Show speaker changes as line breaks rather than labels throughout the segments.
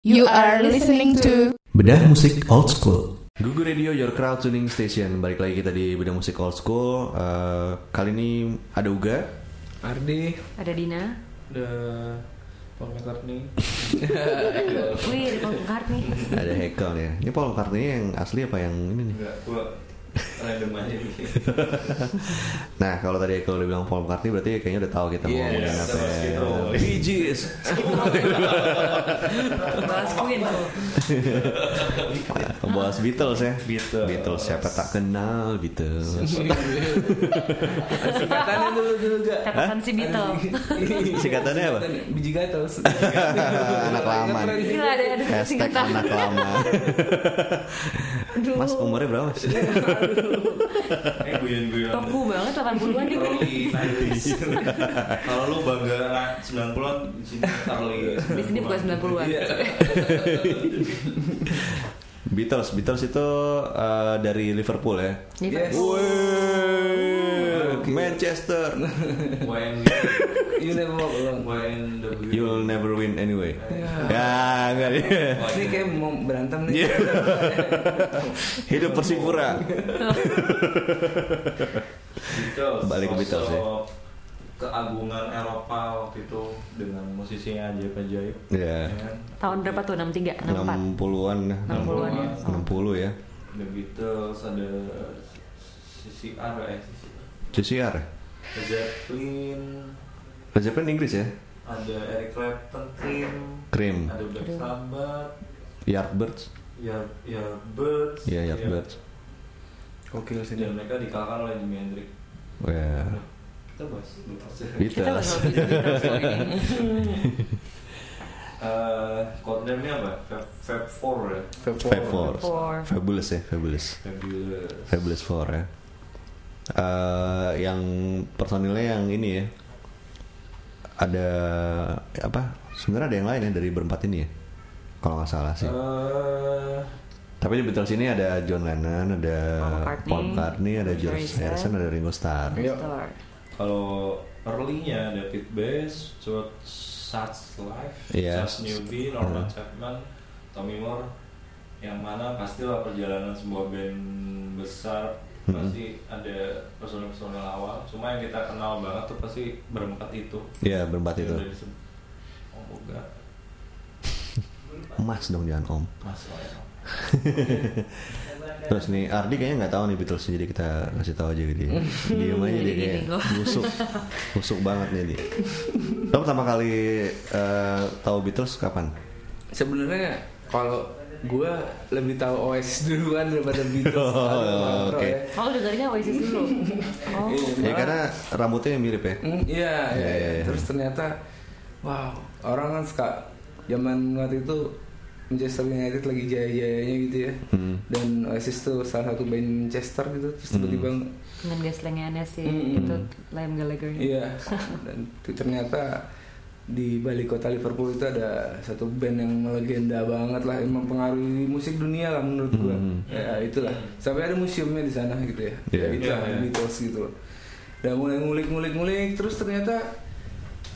You are listening to
Bedah musik old school.
Gugu Radio Your Crowd Tuning Station. Balik lagi kita di bidang musik old school. Eh, kali ini ada Uga.
Ardi
Ada Dina.
ada Paul McCartney
Wih, ada Paul McCartney.
Ada Hekel ya. Ini Paul McCartney yang asli apa yang ini nih?
enggak gua random aja nih
Nah, kalau tadi Hekel udah bilang Paul McCartney berarti kayaknya udah tahu kita mau
Yes,
ngomongin
Iya, kita
apa.
bahas gitu.
ya.
Skid Row.
Bee Gees.
Bahas Queen tuh.
Bahas Beatles ya.
Beatles.
siapa tak kenal Beatles.
singkatannya dulu juga
Catatan si Beatles.
Singkatannya apa?
biji gatos
Anak lama. nih.
Gila ada ada
Hashtag
singkatan.
anak lama. Mas umurnya berapa? Mas?
eh guyon guyon
Toku banget 80-an nih.
kalau lu bangga anak 90-an di sini Carly
Di sini bukan 90-an.
Iya.
Beatles, Beatles itu eh, dari Liverpool ya.
Yes.
Wih, Manchester.
when you never walk alone when the
You'll never win anyway. Ya, enggak dia.
ini kayak mau berantem nih
Iya. Hidup Persipura.
Beatles
Balik ke Beatles,
sosok
ya.
keagungan Eropa waktu itu dengan musisi yang ajaib-ajaib
Ya.
ya kan?
Tahun berapa tuh? 63, 64.
60-an.
60-an
ya.
60 ya.
The Beatles ada CCR eh
CCR.
CCR. Led Zeppelin
Led Zeppelin Inggris ya.
ada Eric Clapton Cream
Cream.
ada Black Sabbath
Yardbirds.
ya ya Birds
Iya, Yardbirds.
Gokil sih dan mereka dikalahkan oleh Jimi Hendrix
Wah.
kita bahas Beatles ya.
Gitu.
Kita bahas
Beatles.
soal Beatles kali ini.
Eh, codename nya apa Fab Fab Four ya
Fab Four.
Four.
Fabulous ya, Fabulous.
Fabulous
Fabulous Four ya. Eh, yang personilnya yang ini ya. Ada apa? Sebenarnya ada yang lain ya dari berempat ini ya. Kalau nggak salah sih.
Eh,
Tapi di Beatles ini ada John Lennon, ada
Paul McCartney,
Paul McCartney, ada George
Harrison,
Harrison, ada Ringo Starr.
Store.
kalau early-nya ada Pete Best, Stuart Satzliff,
Iya.
Charles Newby, Norman Chapman, Tommy Moore yang mana pastilah perjalanan sebuah band besar
Mhm.
pasti ada personel-personel awal cuma yang kita kenal banget tuh pasti berempat itu
Iya, berempat
Yang
itu.
udah disebut. oh enggak
Emas dong jangan Om.
mas
Iya,
Wael.
Terus nih Ardi kayaknya nggak tahu nih Beatles jadi kita kasih tahu aja gitu. ya. Diem aja dia
Jadi
kayak
gini gua.
busuk, busuk banget nih dia. Lo pertama kali eh, tahu Beatles kapan?
sebenarnya kalau gue lebih tahu OS duluan daripada Beatles
Oh,
Aduh,
oke.
ya.
Oh, lu dengerinnya Oasis dulu. Oh.
Iya.
Ya karena rambutnya yang mirip ya.
Hmm, iya iya,
Iya, iya,
iya.
iya.
terus ternyata wow orang kan suka zaman waktu itu Manchester United lagi jaya-jayanya gitu ya
Hmm.
dan Oasis tuh salah satu band Manchester gitu terus tiba-tiba
Hmm.
Dengan gaslangnya aneh sih.
Mm-mm.
Itu Liam Gallagher.
iya dan tuh ternyata di balik kota Liverpool itu ada satu band yang legenda banget lah yang mempengaruhi musik dunia lah menurut gue
Hmm.
ya itulah sampai ada museumnya di sana gitu ya
Iya.
Ya, itu
Iya,
lah,
iya.
Beatles gitu loh dan mulai ngulik ngulik ngulik terus ternyata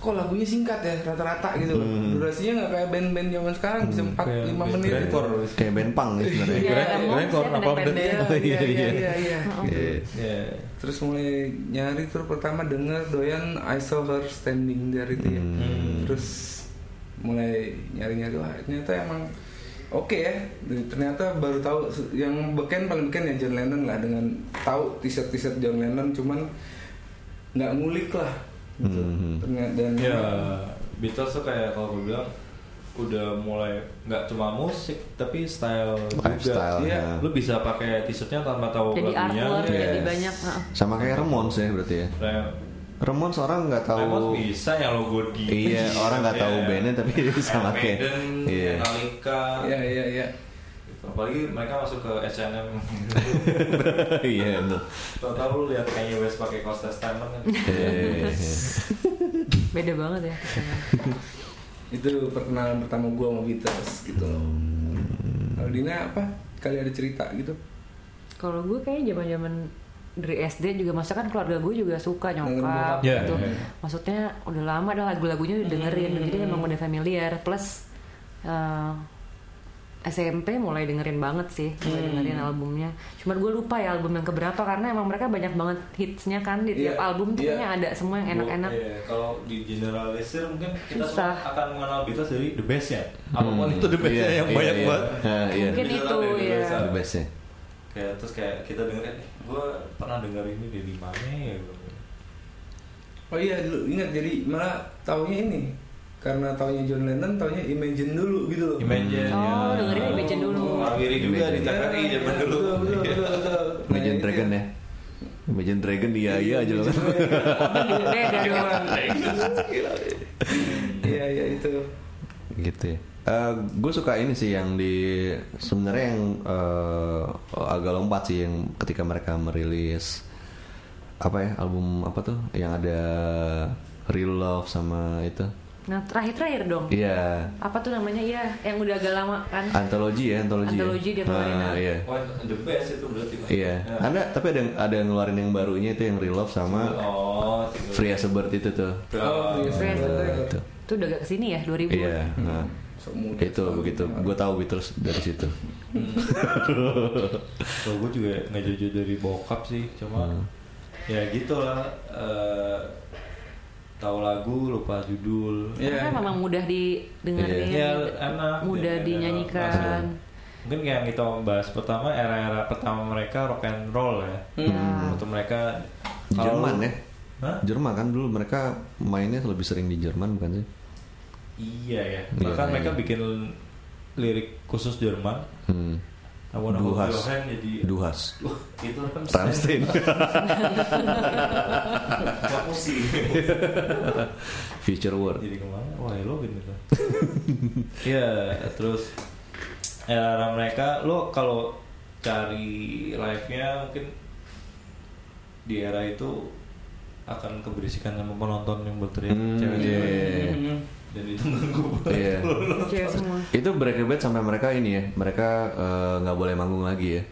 kok lagunya singkat ya rata-rata gitu loh
Hmm.
durasinya nggak kayak band-band zaman sekarang bisa
Hmm. Iya,
4 5 menit gitu.
Rekor.
Kayak band punk ya sebenarnya.
Iya, emang
Gregor,
saya
apa
pendek-pendek.
Oh,
Iya, iya, iya, iya, iya.
Iya.
Iya.
terus mulai nyari terus pertama denger doyan I saw her standing dari itu ya
Hmm.
terus mulai nyari-nyari wah ternyata emang oke ya ternyata baru tahu se- yang beken paling beken ya John Lennon lah dengan tahu t-shirt-t-shirt John Lennon cuman nggak ngulik lah gitu.
Hmm.
ternyata dan
Ya, Beatles tuh kayak kalau gue bilang udah mulai nggak cuma musik tapi style
Lifestyle,
juga. Iya,
ya.
lu bisa pakai t-shirtnya tanpa tahu
Jadi
lagunya.
artwork,
Yes.
jadi banyak. Heeh.
Sama kayak Ramones ya berarti ya.
Kayak,
Ramones orang nggak
Lemon
tahu.
bisa ya logo di.
Iya, orang nggak tahu
Iya.
bandnya tapi dia bisa
Iron
pakai.
Maiden,
Iya.
Metallica.
Iya,
ya ya ya
Gitu. Apalagi mereka masuk ke H&M.
Iya betul.
Tahu lu lihat Kanye West pakai kaos testament kan.
Eh,
Beda banget ya. kesannya.
itu perkenalan pertama gua sama Beatles gitu loh
Hmm.
kalau Dina apa kali ada cerita gitu
Kalau gue kayak zaman-zaman dari SD juga masa kan keluarga gue juga suka nyokap
Iya,
gitu.
iya, Hmm. iya.
Maksudnya udah lama ada lagu-lagunya udah dengerin jadi emang udah familiar plus eh, SMP mulai dengerin banget sih mulai
Hmm.
dengerin albumnya cuman gue lupa ya album yang keberapa karena emang mereka banyak banget hitsnya kan di tiap
Iya,
album tuh
iya.
kayaknya ada semua yang enak-enak
Iya, kalau di generalisir mungkin kita
Susah.
semua akan mengenal Beatles dari the best ya. Apapun
Hmm,
itu the best.
iya,
yang
iya,
banyak
iya.
banget.
Ah, iya.
Mungkin
Beneran
itu,
dari
ya.
desa.
The bestnya.
Kayak terus kayak kita dengerin, gue pernah denger ini dari mana ya. gua.
Oh iya dulu ingat jadi malah taunya ini karena taunya John Lennon taunya Imagine dulu gitu loh.
Imagine.
Oh,
ya.
dengerin Imagine dulu.
Wiri juga di
Imagine.
TKI zaman dulu.
Iya, Betul, betul, betul. Nah,
Imagine
itu
Dragon ya. Imagine Dragon iya iya aja loh.
beda dong
Iya iya itu.
gitu ya. gue suka ini sih yang di sebenarnya yang eh, agak lompat sih yang ketika mereka merilis apa ya album apa tuh yang ada Real Love sama itu.
nah terakhir-terakhir dong
Iya.
apa tuh namanya ya yang udah agak lama kan
Antologi ya, antologi.
Antologi
ya.
dia kemarin,
Ah,
ah.
iya.
Wah, the best itu berarti. Pak.
Iya.
Ya.
Ada tapi ada yang ada yang ngeluarin yang barunya itu yang Real Love sama
Oh, tinggal-
Free as a Bird itu tuh. Gitu.
Oh,
iya,
Fresh
betul.
Itu.
itu udah agak kesini ya 2000
Iya. nah.
Semudah.
Itu begitu. Gue tahu Beatles dari situ.
Kalau gue juga nggak jauh-jauh dari bokap sih, cuma
Hmm.
ya gitu lah. eh, tahu lagu lupa judul.
karena memang mudah didengerin
Iya. Ya, enak.
mudah
Ya, enak.
iya. dinyanyikan
Mungkin kayak yang kita bahas pertama era-era pertama mereka rock and roll ya.
Hmm. Iya.
Waktu mereka kalau-
Hmm. Jerman ya.
Hah?
Jerman kan dulu mereka mainnya lebih sering di Jerman bukan sih?
Iya ya.
Iya,
Bahkan
iya.
mereka bikin lirik khusus Jerman.
Hmm.
I wanna hold
Duhas.
your hand jadi
Duhas.
Wah, itu Ramstein.
Rammstein.
Nggak pusing.
Future World.
jadi kemana? Wah, lo gitu. Iya, terus era mereka lo kalau cari live-nya mungkin di era itu akan keberisikan sama penonton yang berteriak
Hmm,
cewek-cewek.
iya.
Dan itu mengganggu banget.
Iya.
Cewek semua
Itu break the band sampai mereka ini ya, mereka eh, nggak boleh manggung lagi ya.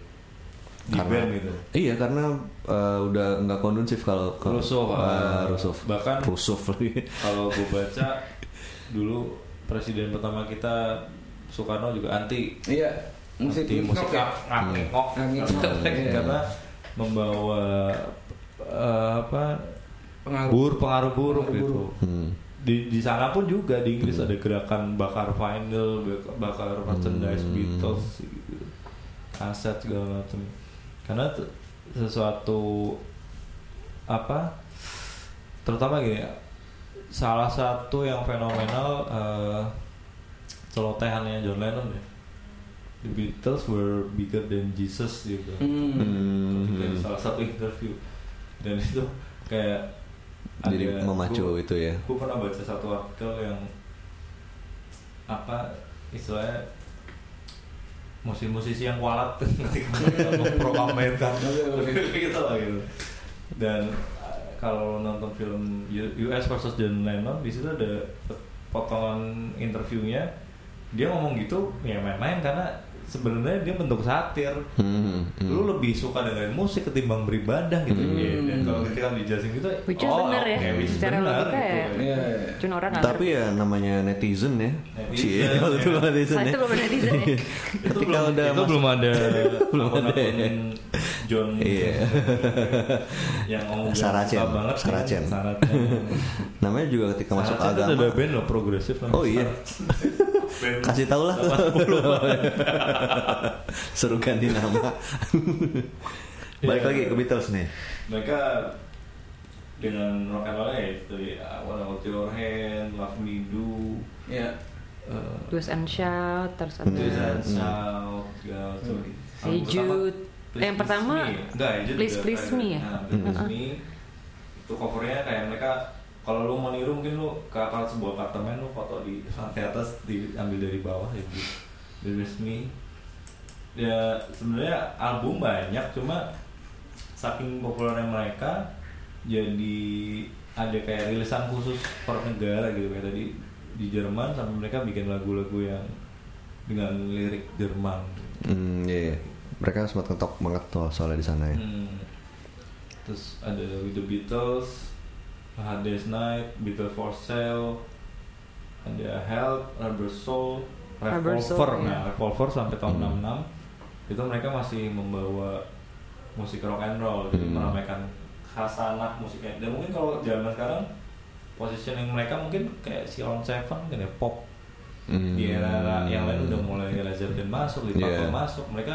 Di band gitu.
Iya karena eh, udah nggak kondusif kalau kalau- eh,
Rusuh, ah.
rusuh.
Bahkan-
rusuh lagi.
Kalau gue baca dulu presiden pertama kita Soekarno juga anti
Iya musik
Di musik
rock ya?
ngak- ngak-
Iya.
ngok
Ngak- ngok.
karena membawa eh, apa
Pengaruh.
bur pengaruh buruk
Pengaruh
gitu
Hmm.
di di sana pun juga di Inggris ada gerakan bakar vinyl bak- bakar merchandise Beatles gitu. aset segala macam karena t- sesuatu apa terutama gini ya, salah satu yang fenomenal eh, celotehannya John Lennon ya The Beatles were bigger than Jesus gitu
Hmm.
dari salah satu interview dan itu kayak
Jadi
ada-
memacu itu ya.
gue pernah baca satu artikel yang apa istilahnya musisi-musisi yang kan? walat ketika pro Amerika gitu lah gitu dan uh, kalau nonton film U- US versus John Lennon di situ ada potongan interviewnya dia ngomong gitu ya main-main karena sebenarnya dia bentuk satir
Hmm, hmm.
lu lebih suka dengerin musik ketimbang beribadah gitu
Hmm.
ya. dan kalau ketika dijelasin gitu
Which is bener ya.
oke, which is
Secara
bener
logika ya.
gitu.
Iya. iya.
cuma orang nggak
Tapi ya namanya netizen ya.
Netizen,
Cie, kalau itu
ya.
netizen
Nah,
ya.
itu belum ada netizen ya.
itu
Ketika
belum,
udah
itu
masuk-
belum ada
Belum ada.
akun-akun John
Iya.
yang ngomong
Saracen.
suka banget kan,
Saracen.
Saracen.
Namanya juga ketika masuk
Saracen itu
agama.
kan ada band loh kan. progresif namanya
Oh iya.
Saracen.
Kasih tau lah.
80.
Suruh ganti nama. Balik
Iya.
lagi ke Beatles nih.
mereka dengan rock and roll ya itu ya I Wanna Hold Your Hand Love Me Do
Iya.
eh,
Twist and shout terus
Hmm.
Twist
ada
and Shout ya, itu.
Hey
Yang
Jude.
Please
Yang pertama,
Please Me. Enggak, Hey Jude
Please
juga
Please
ada.
Me ya?
Nah, Please Please Me. itu covernya kayak mereka kalau lu mau niru mungkin lu ke atas sebuah apartemen lu foto di lantai atas diambil dari bawah ya gitu. Please Please Me. Ya sebenarnya album banyak cuma saking populernya mereka jadi ada kayak rilisan khusus per negara gitu kayak tadi di Jerman sampai mereka bikin lagu-lagu yang dengan lirik Jerman.
Hmm, iya. iya. Mereka sempat ngetok banget tuh soalnya di sana ya.
Hmm. Terus ada With the Beatles, A Hard Day's Night, Beatles for Sale, ada Help, Rubber Soul,
Rubber Soul,
Revolver
iya.
nah Revolver sampai tahun
Hmm.
66 itu mereka masih membawa musik rock and roll jadi
Hmm.
meramaikan khasanah musiknya dan mungkin kalau zaman sekarang positioning mereka mungkin kayak si On Seven kan ya pop
Hmm.
di era yang lain udah mulai Lazarden masuk, Lee
Iya.
Purple masuk, mereka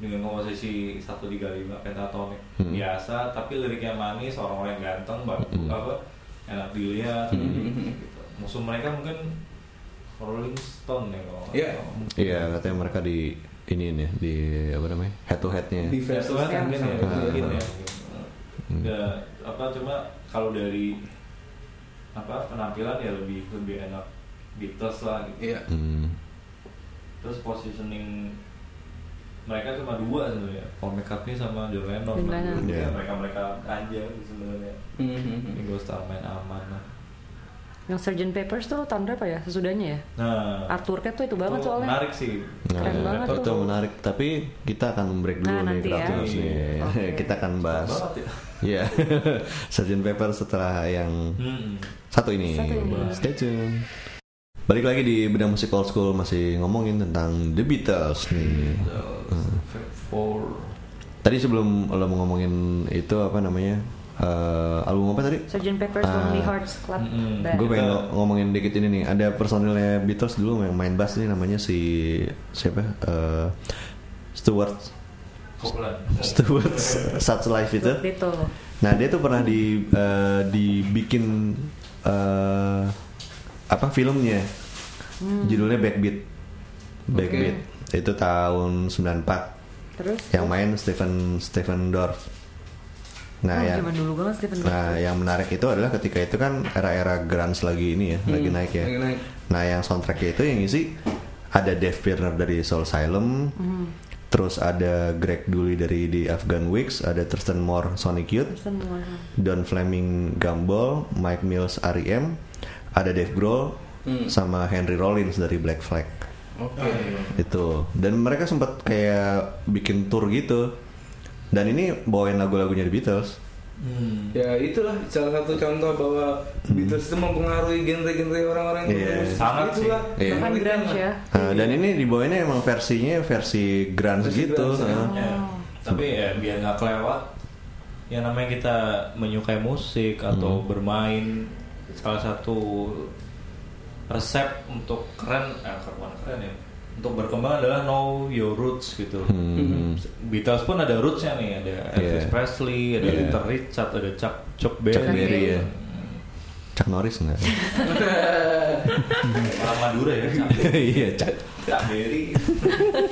dengan komposisi 135 pentatonik
Hmm.
biasa, tapi liriknya manis, orang-orang yang ganteng, bak-
Hmm.
apa enak dilihat,
Hmm.
Iya.
gitu. musuh mereka mungkin Rolling Stone ya kalau nggak
Iya.
salah.
Iya katanya mereka di ini nih ya, di apa namanya head to headnya. ya.
Di
Versus
versus
kan
kan
mungkin ya,
sama
Ah.
mungkin
gitu.
ya.
Hmm.
Ya, apa cuma kalau dari apa penampilan ya lebih lebih enak Beatles lah gitu.
Iya.
Hmm.
terus positioning mereka cuma dua sebenarnya Paul McCartney sama John Lennon
John Lennon.
Iya.
mereka mereka aja gitu sebenarnya
Mhm.
Ringo Starr main aman lah.
Yang Surgeon Papers tuh tahun berapa ya? Sesudahnya ya?
nah
Artworknya tuh itu banget soalnya.
menarik sih
Keren
Nah,
banget
itu
tuh.
menarik. Tapi kita akan break dulu
Nah,
nih
nanti ya.
Kratos nih.
Oke.
kita akan bahas.
banget ya
Iya. Sergeant Pepper setelah yang
Hmm.
satu ini.
Satu ini.
Stay tune. Balik lagi di Bedah Musik Old School masih ngomongin tentang The Beatles nih. Hmm.
Fab Four
Tadi sebelum lo mau ngomongin itu apa namanya? eh, album apa tadi?
Surgeon Papers
Ah.
Lonely Hearts Club
Mm-mm.
Band.
Gue pengen ngo- ngomongin dikit ini nih. Ada personilnya Beatles dulu yang main bass nih namanya si siapa? Eh, Stewart
Copeland
Stewart Satchlife itu.
Betul.
Nah dia tuh pernah di eh, dibikin eh, apa filmnya?
Hmm.
Judulnya Backbeat. Backbeat itu tahun 94
Terus
yang main Stephen Stephen Dorff. Nah
Oh,
yang
zaman dulu banget Stephen
nah yang menarik itu adalah ketika itu kan era-era grunge lagi ini ya, lagi
Hmm.
naik ya.
Lagi naik.
Nah yang soundtracknya itu yang ngisi ada Dave Pirner dari Soul Asylum,
Hmm.
terus ada Greg Dooley dari The Afghan Wigs, ada Tristan Moore Sonic Youth,
Pearson Moore.
Iya.
Don Fleming Gumball, Mike Mills R.E.M, ada Dave Grohl,
Hmm.
sama Henry Rollins dari Black Flag
Oh,
Oke.
iya.
itu. Dan mereka sempat kayak bikin tour gitu. Dan ini bawain lagu-lagunya The Beatles.
Hmm.
Ya itulah salah satu contoh bahwa Beatles itu mempengaruhi genre-genre orang-orang yang
Iya.
bermusik.
Sangat sih.
Itulah
Iya.
Bukan
penelitian
grunge ya.
lah.
kan?
Nah,
Iya.
dan ini dibawainnya emang versinya versi grunge
Versi
gitu.
grunge, ya.
Nah.
Ya, tapi ya biar nggak kelewat ya namanya kita menyukai musik atau
Hmm.
bermain salah satu resep untuk keren eh keren keren ya untuk berkembang adalah know your roots gitu
Hmm.
Beatles pun ada rootsnya nih ada Elvis
Yeah.
Presley ada
Yeah.
Little Richard ada Chuck Chuck Berry,
Iya. Chuck Berry ya. Chuck Norris enggak?
orang Madura ya Chuck,
Iya, Chuck.
Chuck Berry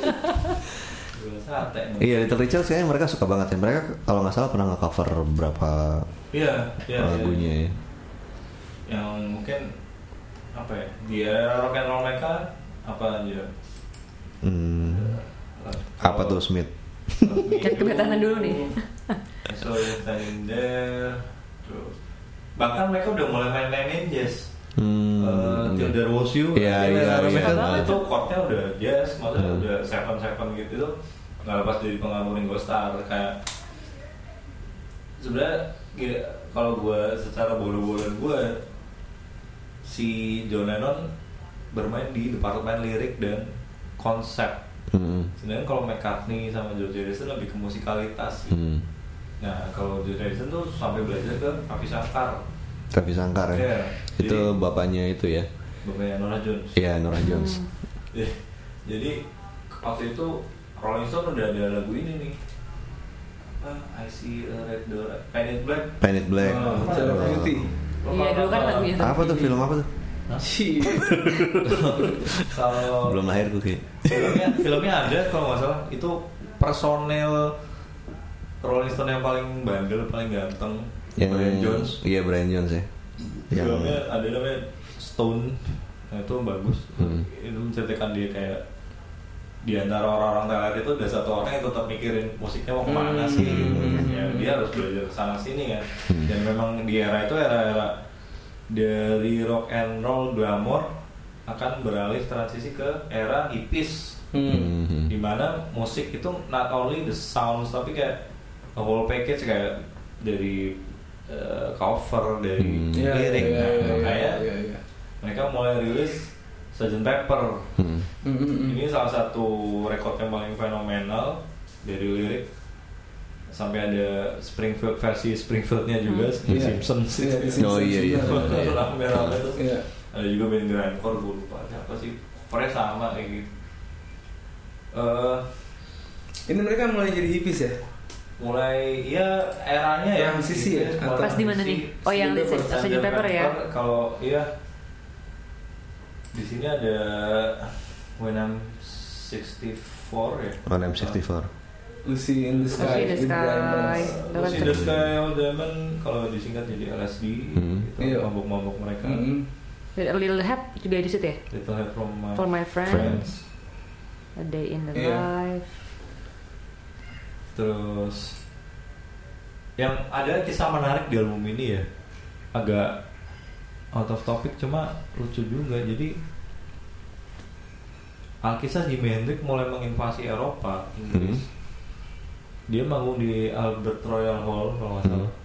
Gila, sate
Iya, Little Richard kayaknya mereka suka banget ya. Mereka kalau nggak salah pernah nge-cover berapa
Iya, iya, iya.
lagunya ya.
yang mungkin apa ya di era rock and roll mereka apa aja
Hmm, apa tuh Smith?
Cek kebetahan dulu nih.
so You're standing there terus bahkan mereka udah mulai main mainin jazz
Hmm,
Eh, Till
iya.
There Was You
Iya,
kan,
iya,
era
iya.
mereka
Iya.
itu chordnya udah jazz maksudnya
Hmm.
udah seven seven gitu tuh nggak lepas dari pengaruh Ringo Starr kayak sebenarnya gila, kalau gue secara bolu-boluan gue si John Lennon bermain di departemen lirik dan konsep
Hmm,
sebenarnya kalau McCartney sama George Harrison lebih ke musikalitas
hmm.
nah kalau George Harrison tuh sampai belajar ke Papi Sangkar
Travis Sangkar
Iya,
ya. Itu
jadi-
bapaknya itu ya.
bapaknya Nora Jones
Iya, Norah Jones.
Hmm.
Ya, Jadi waktu itu Rolling Stone udah ada lagu ini nih. Apa? I see a red door. Painted black.
Planet Black.
Oh, Shade of
Oh.
Beauty.
Iya, dulu kan lagunya.
Apa tuh film apa tuh?
Shit.
Kalau
Belum lahir gue kayak.
filmnya, filmnya ada kalau nggak salah itu personel Rolling Stone yang paling bandel, paling ganteng.
Yang
Brian Jones.
Iya, Brian Jones ya. Yang
Filmnya ada namanya Stone. Nah, itu bagus.
Hmm.
Itu menceritakan dia kayak di antara orang-orang teler itu ada satu orang yang tetap mikirin musiknya mau kemana sih gitu. Ya, dia harus belajar sana sini kan dan memang di era itu era-era dari rock and roll glamour akan beralih transisi ke era hippies
Hmm.
Mhm.
dimana musik itu not only the sounds tapi kayak a whole package kayak dari eh, cover dari
Hmm.
Iya,
lirik
iya,
Nah,
iya,
makanya
iya, iya.
mereka mulai rilis Sgt. Pepper
Hmm.
Mm, mm, mm.
Ini salah satu rekod yang paling fenomenal dari lirik sampai ada Springfield versi Springfieldnya juga The
Iya.
Simpsons.
Iya, The Simpsons.
Oh, iya, iya.
Terus rame-rame terus
Iya.
ada juga band grindcore gue lupa siapa sih. Covernya sama kayak gitu. Eh,
Ini mereka mulai jadi hippies ya?
mulai ya eranya ya
Transisi ya?
Mulai
Pas di
mana nih?
transisi.
Oh, yang
Sgt. Pepper,
Sgt.
Sgt.
Pepper ya?
kalau iya di sini ada When I'm 64 ya
On M64.
Lucy in the
Lucy
Sky.
in the
with Brian
Sky.
Blessed.
Itu kan
Eh, Terus
ter-
Indus Kyle Diamond kalau disingkat jadi LSD
Hmm.
gitu,
Iya.
mabuk-mabuk mereka
Mm.
Little Help juga di situ ya.
Little Help From My
For My Friends,
Friends
A Day in the
Iya.
Life.
Terus yang ada kisah menarik di album ini ya agak out of topic cuma lucu juga jadi Alkisah Jimi Hendrix mulai menginvasi Eropa Inggris
Hmm.
dia manggung di Albert Royal Hall kalau nggak salah
Hmm.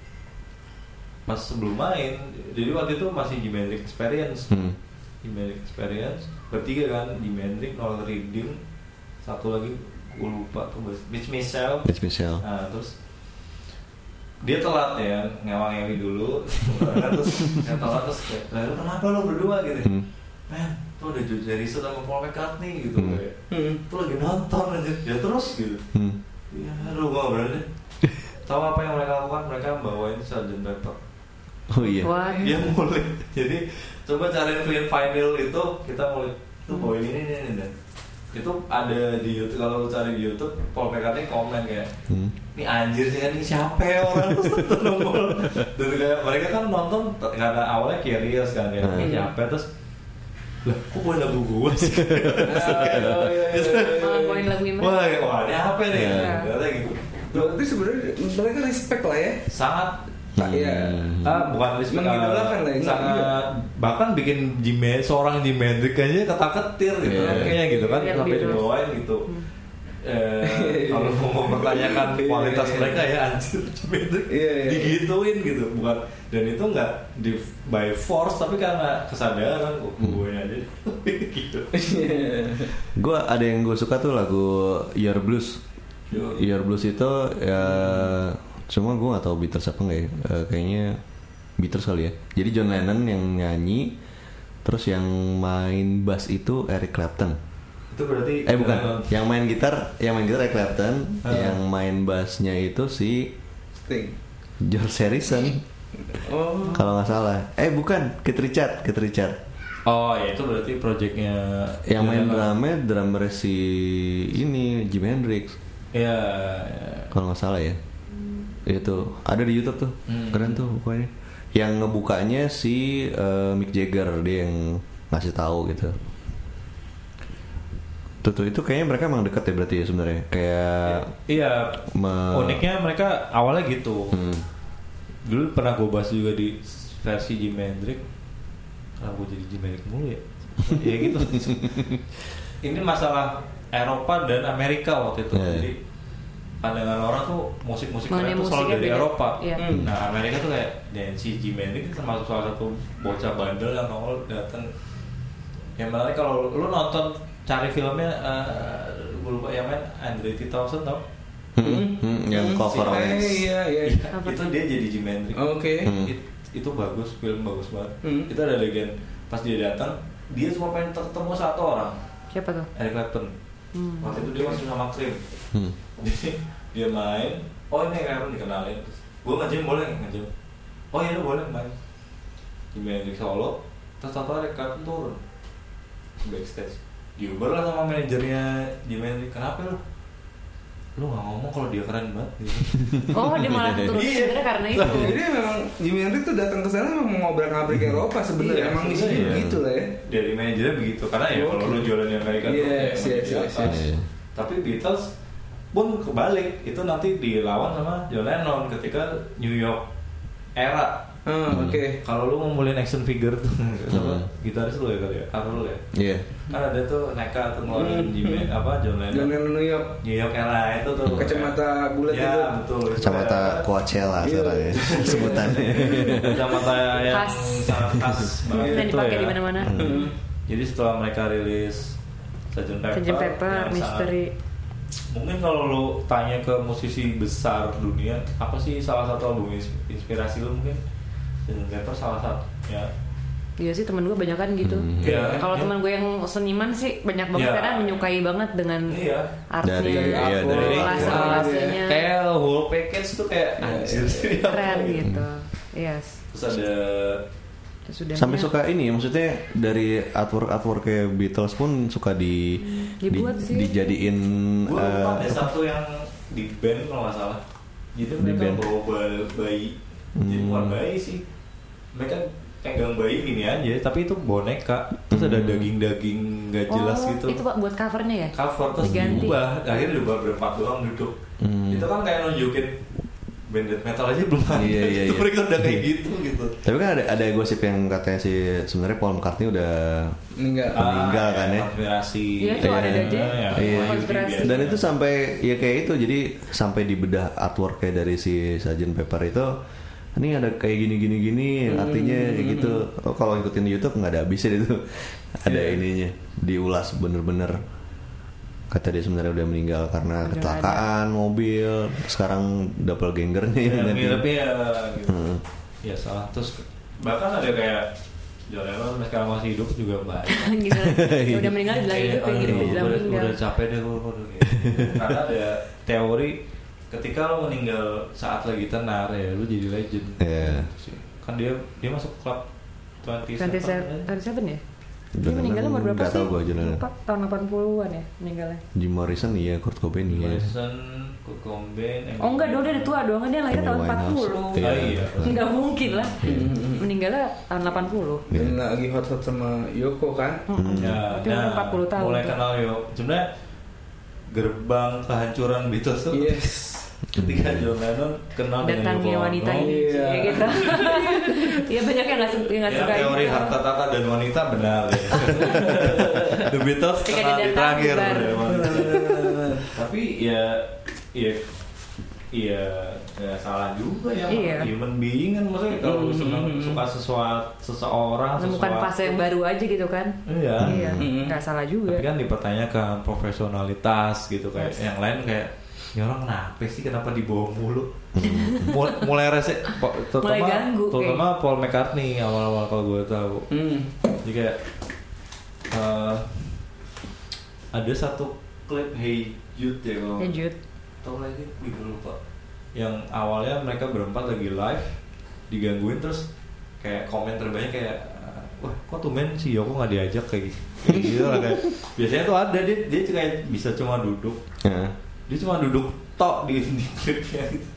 pas sebelum main jadi waktu itu masih Jimi Hendrix Experience
Hmm.
Jimi Hendrix Experience bertiga kan Jimi Hendrix Noel Reading satu lagi gue lupa tuh Mitch Michelle
It's Michelle.
Nah, terus dia telat ya ngewang-ngewi dulu terus yang telat terus kayak lalu kenapa lo berdua gitu
Hmm.
men tuh ada George Harrison sama Paul McCartney gitu
Hmm.
kayak
Mm.
tuh lagi nonton aja ya terus gitu
Hmm.
ya lu gak berani tahu apa yang mereka lakukan mereka bawain Sgt. Pepper
Oh iya.
What?
dia mulai jadi coba cariin free vinyl itu kita mulai itu bawain ini ini ini dan itu ada di YouTube kalau lu cari di YouTube Paul McCartney komen kayak
Hmm.
ini anjir sih kan ini siapa ya orang terus tuh nongol dan kayak mereka kan nonton t- karena awalnya curious kan ya
Hmm.
ini siapa terus lah kok boleh lagu gue sih
Oh, iya, iya, iya, iya.
Malah bawain lagu ini.
wah ya. wah ini apa nih
Iya.
ternyata gitu
Berarti sebenarnya mereka respect lah ya.
sangat
Tak, iya.
Hmm.
ah, bukan respect
Mengidolakan lah,
ah,
ini.
sangat bahkan bikin Jimmy seorang Jimi Hendrix aja kata ketir gitu
Iya. Hmm.
kayaknya gitu kan
Iya,
sampai
gitu.
dibawain gitu Eh, kalau mau mempertanyakan
Iya,
kualitas
iya.
mereka ya anjir Jimi Hendrix
Iya, iya.
digituin gitu bukan dan itu nggak di by force tapi karena kesadaran kok
Hmm.
gue aja gitu
Iya.
Gue ada yang gue suka tuh lagu Your Blues.
Yo.
Your Blues itu ya cuma gue nggak tahu Beatles apa nggak ya. Eh, kayaknya Beatles kali ya. Jadi John Lennon yang nyanyi, terus yang main bass itu Eric Clapton.
itu berarti
Eh bukan, yang main gitar, yang main gitar Eric Clapton,
Ah.
yang main bassnya itu si
Sting.
George Harrison.
Oh.
Kalau nggak salah. Eh bukan, Keith Richard, Keith Richard.
oh ya itu berarti projectnya
Yang main drumnya drummer si ini Jimi Hendrix.
ya,
Kalau nggak salah ya. Itu ada di YouTube tuh.
Hmm.
Keren tuh pokoknya. Yang ngebukanya si eh, Mick Jagger dia yang ngasih tahu gitu. Tuh, tuh itu kayaknya mereka emang deket ya berarti ya sebenarnya. Kayak
Iya,
Me-
Eh.
uniknya mereka awalnya gitu.
Hmm.
Dulu pernah gue bahas juga di versi Jimi Hendrix. Kenapa gue jadi Jimi Hendrix mulu ya? ya gitu. Ini masalah Eropa dan Amerika waktu itu.
Iya.
Jadi pandangan orang tuh musik-musik
Mengenai
keren tuh selalu
musiknya
dari
beda.
Eropa.
Iya.
Hmm.
Nah Amerika tuh kayak dan si Jimi Hendrix termasuk salah satu bocah bandel yang nongol datang. Yang menarik kalau lu, lu nonton cari filmnya, eh gue lupa yang main Andre 3000 tau?
Hmm, hmm, yang
Hmm,
cover
si-
oleh
eh, Iya, iya. Oh,
Iya,
Apa
itu
tuh?
dia jadi Jimi Hendrix.
Oke.
Hmm.
It- itu bagus, film bagus banget.
Hmm.
Itu ada adegan pas dia datang, dia cuma pengen ketemu satu orang,
Siapa tuh?
Eric Clapton.
Hmm.
Waktu itu dia masih sama Cream.
Hmm.
Jadi dia main, oh ini Clapton dikenalin. Terus, Gua ngejam boleh nggak ngejam? Oh iya lu boleh main. Jimi Hendrix solo, terus satu Eric Clapton turun backstage. Diuber lah sama manajernya Jimi Hendrix, kenapa lu? Lu nggak ngomong kalau dia keren banget. Gitu.
Oh, dia malah turun
Iya.
sebenarnya karena itu.
Nah, Jadi memang Jimi Hendrix tuh datang ke sana memang ngobrak-ngabrik
Hmm.
Eropa sebenarnya.
Iya,
emang
sebenarnya
isinya
iya.
gitu lah ya.
dari manajernya begitu karena ya kalau lu jualan di Amerika tuh
Yes,
ya
yes,
di
yes,
atas.
yes.
tapi Beatles pun kebalik itu nanti dilawan sama John Lennon ketika New York era Eh,
Ah,
Hmm.
oke.
kalau lu ngumpulin action figure tuh
Iya.
sama
Hmm.
gitaris lu ya kali ya Karl lu ya
Iya.
kan ada tuh Neka tuh ngeluarin
Hmm.
Jimmy apa John Lennon
Jangan New York
New York era itu tuh
kacamata bulat
ya,
itu.
betul
Kacamata Coachella
Iya.
sekarang ya sebutannya.
kacamata yang
Khas.
sangat khas banget
Dan
itu
dipakai
ya.
Hmm.
di mana-mana.
Jadi setelah mereka rilis Sgt. Pepper,
Sgt. Pepper,
yang sangat-
Misteri.
Mungkin kalau lo tanya ke musisi besar dunia, apa sih salah satu album ins- inspirasi lo mungkin? Sgt. Pepper salah satu. Ya,
Iya sih temen gue banyak kan gitu.
Hmm.
Iya.
Kalau
Iya.
teman gue yang seniman sih banyak banget
Iya.
karena menyukai banget dengan
Iya.
artnya,
Dari- iya, dari-
relasi-relasinya,
kayak whole package tuh kayak anjir sih, apa
Ya. keren
gitu.
gitu. Yes.
Terus ada
Sudah.
Sampai suka ini maksudnya dari artwork artwork kayak Beatles pun suka di,
dibuat sih.
dijadiin
gue lupa ada
eh,
satu yang di band kalau nggak salah. Jadi
Di
mereka
band.
bawa ba- bayi, jadi
Hmm.
bukan bayi sih. Mereka pegang bayi gini aja, tapi itu boneka. Terus ada
Hmm.
daging-daging nggak jelas
oh,
gitu.
itu pak buat covernya ya?
cover terus
Diganti.
diubah akhirnya diubah berempat doang duduk
Hmm.
itu kan kayak nunjukin band death metal aja belum ada
Iya, iya,
itu
iya.
mereka udah kayak gitu gitu
tapi kan ada ada gosip yang katanya si sebenarnya Paul McCartney udah
Meninggal.
Ah. Meninggal kan ya?
konspirasi
Iya, itu
ada aja. Iya.
Konspirasi.
dan itu sampai ya kayak itu jadi sampai dibedah artwork kayak dari si Sajen Pepper itu ini ada kayak gini gini gini artinya gitu Oh, kalau ngikutin di YouTube nggak ada habisnya itu ada
Iya.
ininya diulas bener-bener kata dia sebenarnya udah meninggal karena
Udah
kecelakaan mobil sekarang doppelgangernya yang
yang
Iya, ganti.
miripnya Iya, gitu
Hmm.
ya salah terus bahkan ada kayak John Lennon sekarang masih hidup juga banyak
gitu. Udah meninggal bilang
Kayak,
hidup ya gitu,
aduh,
bilang
Iya, udah,
meninggal.
udah capek deh gue gitu. karena ada teori ketika lo meninggal saat lagi tenar ya lo jadi legend
Iya.
kan dia dia masuk klub kan? 27
27 27 ya? Dia
John
meninggal
Lennon
umur berapa
nggak
sih?
tahu gua John Lennon.
Lupa, tahun 80-an ya meninggalnya.
Jim Morrison iya Kurt Cobain iya
Wilson Kurt Cobain
Oh enggak, dia udah
Ya,
tua doang dia lahir
Amy
tahun
Winehouse.
40.
Iya.
Enggak mungkin lah.
Hmm.
Meninggalnya tahun 80.
Iya.
Dan lagi hot-hot sama Yoko kan?
Hmm.
Ya,
Dia umur 40 tahun
mulai
tuh.
kenal yo sebenarnya gerbang kehancuran Beatles
Iya.
tuh
Yes.
ketika John Lennon kenal dengan
Datangnya
Yoko
wanita
Ono.
ini
Iya.
ya gitu. Iya banyak yang nggak suka yang nggak
Ya,
suka gitu.
teori
itu.
harta tata dan wanita benar ya. The Beatles
Ketika
kenal di
didatang,
terakhir
bubar.
ya, wanita. Tapi ya ya ya nggak salah juga ya
Iya. Hmm,
human being kan maksudnya kalau lu
Mm,
senang-
mm, mm.
suka sesuatu seseorang
Menemukan
sesuatu-
fase yang baru aja gitu kan.
Iya.
Iya,
Mm-mm.
nggak salah
Tapi
juga.
kan dipertanyakan profesionalitas gitu kayak yang lain kayak ini orang kenapa sih kenapa dibawa mulu Mul- mulai rese po- terutama
ganggu,
terutama Paul McCartney awal-awal kalau gue tahu
Hmm.
jadi kayak eh, ada satu klip Hey Jude ya kalau
Lanjut.
tau lagi gue juga lupa yang awalnya mereka berempat lagi live digangguin terus kayak komen terbanyak kayak "Eh, wah kok tuh men si Yoko nggak diajak kayak gitu Kayak gitu lah kayak biasanya tuh ada dia dia cuma bisa cuma duduk
Iya.
dia cuma duduk tok di di klipnya gitu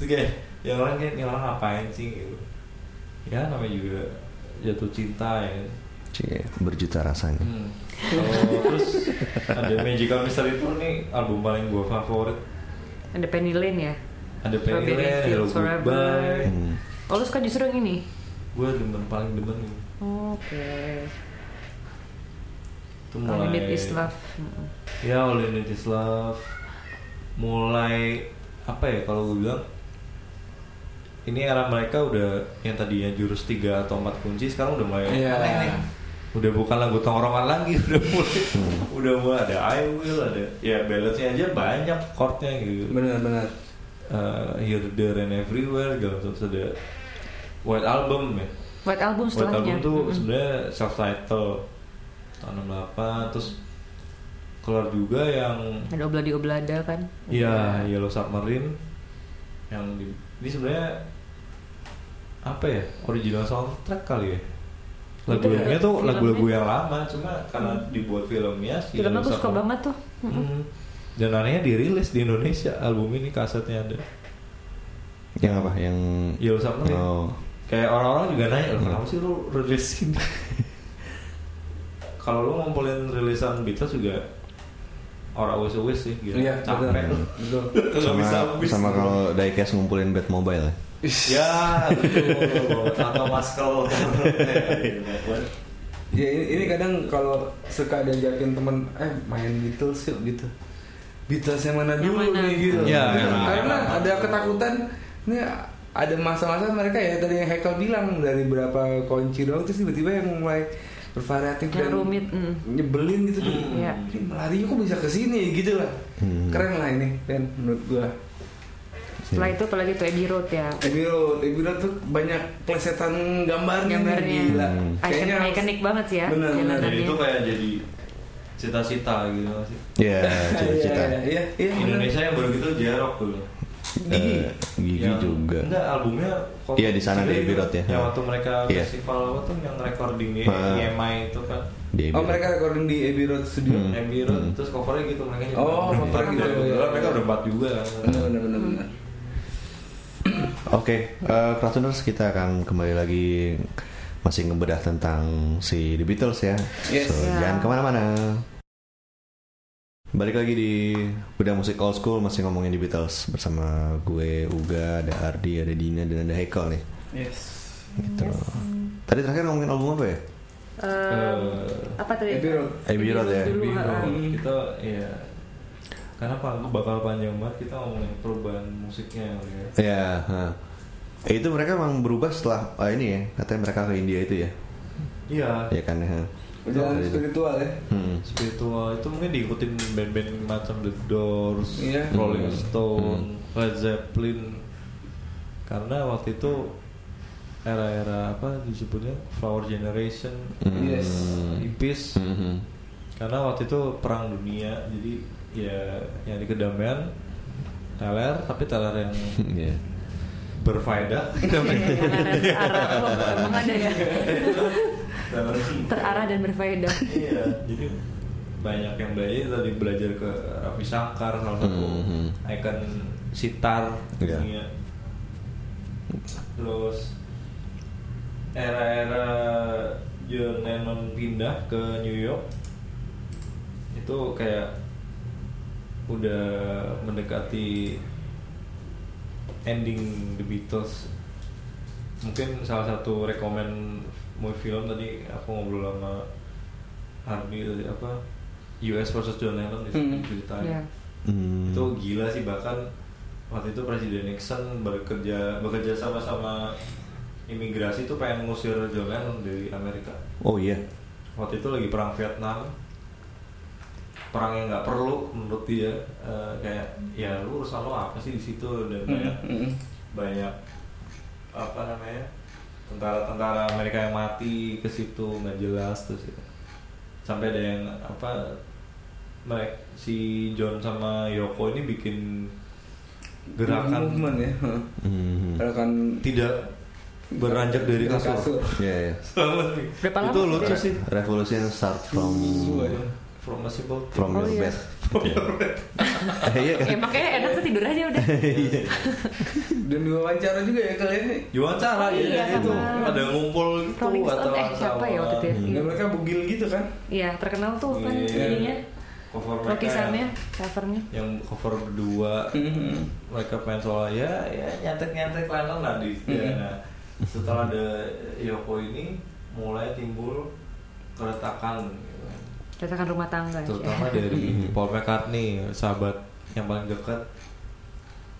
terus kayak yang orang kayak "Ini orang ngapain sih gitu ya namanya juga jatuh cinta ya
Cie, berjuta rasanya
Hmm. Kalau- terus ada Magical Mystery Tour nih album paling gue favorit
Ada Penny Lane ya.
ada Penny
Strawberry
Lane, Hello
Fields Forever.
Goodbye
Hmm.
Oh lu suka justru yang ini?
gue demen paling demen ini.
Oke.
itu
All
mulai
you need is love. Mm-mm.
ya All You Need Is Love mulai apa ya kalau gue bilang ini era mereka udah yang tadinya jurus tiga atau empat kunci sekarang udah mulai
Iya.
aneh-aneh. udah bukan lagu tongkrongan lagi udah mulai udah mulai ada I Will ada ya balance-nya aja banyak chordnya gitu
Benar-benar.
Eh, Here There and Everywhere gitu terus ada White Album ya
White album
White
setelahnya.
Album tuh
Mm-mm.
sebenarnya self title tahun 68 terus keluar juga yang
Ada obladi oblada kan?
ya Yellow Submarine yang di, ini sebenarnya apa ya original soundtrack kali ya lagu-lagunya
Itu
tuh
filmnya.
lagu-lagu yang lama cuma karena dibuat filmnya si
Filmnya
Yellow
aku suka
Submarine.
banget tuh. Mm-mm.
Hmm. dan anehnya dirilis di Indonesia album ini kasetnya ada
yang apa yang
Yellow Submarine
oh
kayak orang-orang juga nanya "Loh, kenapa sih lu rilis ini kalau lu ngumpulin rilisan Beatles juga orang wes wes sih gitu
Iya,
capek
benar. Betul.
Nggak
sama
bisa habis.
sama kalau diecast ngumpulin bat mobile ya?
ya betul. atau maskel
Ya ini, ini kadang kalau suka diajakin temen eh main Beatles yuk gitu. Beatles yang mana
Yang
dulu
mana?
nih gitu.
Ya,
Iya,
Gitu.
enak,
Karena
enak.
ada ketakutan ini ada masa-masa mereka ya tadi yang Hekel bilang dari berapa kunci doang terus tiba-tiba yang mulai bervariatif
Yang
dan
rumit, mm.
nyebelin gitu tuh.
Mm.
Hmm.
Hmm.
Iya.
Larinya kok bisa ke sini gitu lah. Keren lah ini band menurut gua.
Setelah
Iya.
itu apalagi tuh Abbey Road ya.
Abbey Road, Abbey Road tuh banyak plesetan gambarnya.
Gambarnya.
Gila. Iya,
Hmm.
Icon, ikonik banget sih ya
Bener, bener.
Jadi
jalanannya.
itu kayak jadi cita-cita gitu nggak sih.
Ya,
Iya,
cita-cita.
iya, iya. bener.
Indonesia yang baru gitu Jarok dulu.
Eh, gigi
Yang-
juga.
Enggak albumnya. kok-
Iya, di sana di
Jadi
Abbey Road ya.
Yang waktu mereka
Iya.
festival apa tuh yang recording di
Ah.
EMI itu kan.
Dia
Oh
bilang,
mereka recording di Abbey Road Studio.
Iya. Hmm.
Abbey Road terus covernya gitu mereka. nyebar.
Oh, covernya gitu,
Kebetulan
iya, iya.
mereka udah empat juga. kan.
Bener bener bener. bener.
Oke, eh Krasuners kita akan kembali lagi masih ngebedah tentang si The Beatles ya.
Yes.
So,
Ya.
Jangan kemana-mana. Balik lagi di Bedah Musik Old School masih ngomongin The Beatles bersama gue Uga, ada Ardi, ada Dina dan ada Hekel nih.
Yes.
Gitu. Tadi terakhir ngomongin album apa ya?
Eh,
Eh,
apa tadi?
Abbey Road.
Abbey Road ya.
dulu,
Bingung.
ha-ha.
Hmm.
kita ya karena apa aku bakal panjang banget kita ngomongin perubahan musiknya ya.
Iya.
Ya, heeh. Eh, itu mereka memang berubah setelah ah, ini ya, katanya mereka ke India itu ya.
Iya,
Ya kan ya.
Perjalanan
Dari-
spiritual ya.
Hmm.
spiritual itu mungkin diikutin band-band macam The Doors,
Iya.
Rolling
Hmm.
Stone, Led Zeppelin. Karena waktu itu era-era apa disebutnya Flower Generation, E
Hmm.
Yes.
hippies.
Mhm.
Karena waktu itu perang dunia, jadi ya yang di kedamaian teler, tapi teler yang
Iya.
berfaedah.
Jangan terarah. Oh, Emang ada ya?
Teler-
Terarah dan berfaedah.
iya jadi banyak yang belajar tadi belajar ke Raffi Sangkar salah satu
Mhm.
icon sitar
Iya.
dunia. terus era-era John Lennon pindah ke New York itu kayak udah mendekati ending The Beatles mungkin salah satu rekomend movie film tadi aku ngobrol sama Hardy tadi apa US versus John Lennon di
Hmm.
ceritain
Iya.
Hmm.
itu gila sih bahkan waktu itu Presiden Nixon bekerja bekerja sama sama imigrasi itu pengen ngusir John Lennon dari Amerika
Oh iya.
waktu itu lagi perang Vietnam perang yang nggak perlu menurut dia Eh, kayak ya lu urusan lo apa sih di situ dan
Hmm.
banyak
Mm-mm.
banyak apa namanya tentara-tentara Amerika yang mati ke situ nggak jelas terus gitu. sampai ada yang apa mereka si John sama Yoko ini bikin gerakan
movement ya. Heeh.
Mhm.
Gerakan
tidak beranjak dari
Dari
kasur,
kasur.
Iya, iya.
Selamat nih.
Berapa lama
itu
sih
lucu
dia?
sih
Revolution start from
ya.
from a simple thing.
from
Oh,
your
iya.
bed. Eh, Iya kan?
Ya makanya enak tuh tidur aja udah.
dan diwawancara juga ya kalian.
diwawancara ya
Iya,
itu
sama
ada ngumpul gitu
Rolling Stone eh siapa
sama-
ya waktu itu ya?
Dan mereka bugil gitu kan.
Iya terkenal tuh kan
Iya.
ininya.
cover mereka
Lukisannya, covernya.
yang cover berdua
Mm-mm.
mereka pengen soal ya ya nyantek nyantek lain lah di
Mm-hmm.
ya,
Mhm.
nah, setelah ada Yoko ini mulai timbul keretakan gitu kan.
Cetakan rumah tangga. Iya.
terutama dari Paul McCartney sahabat yang paling dekat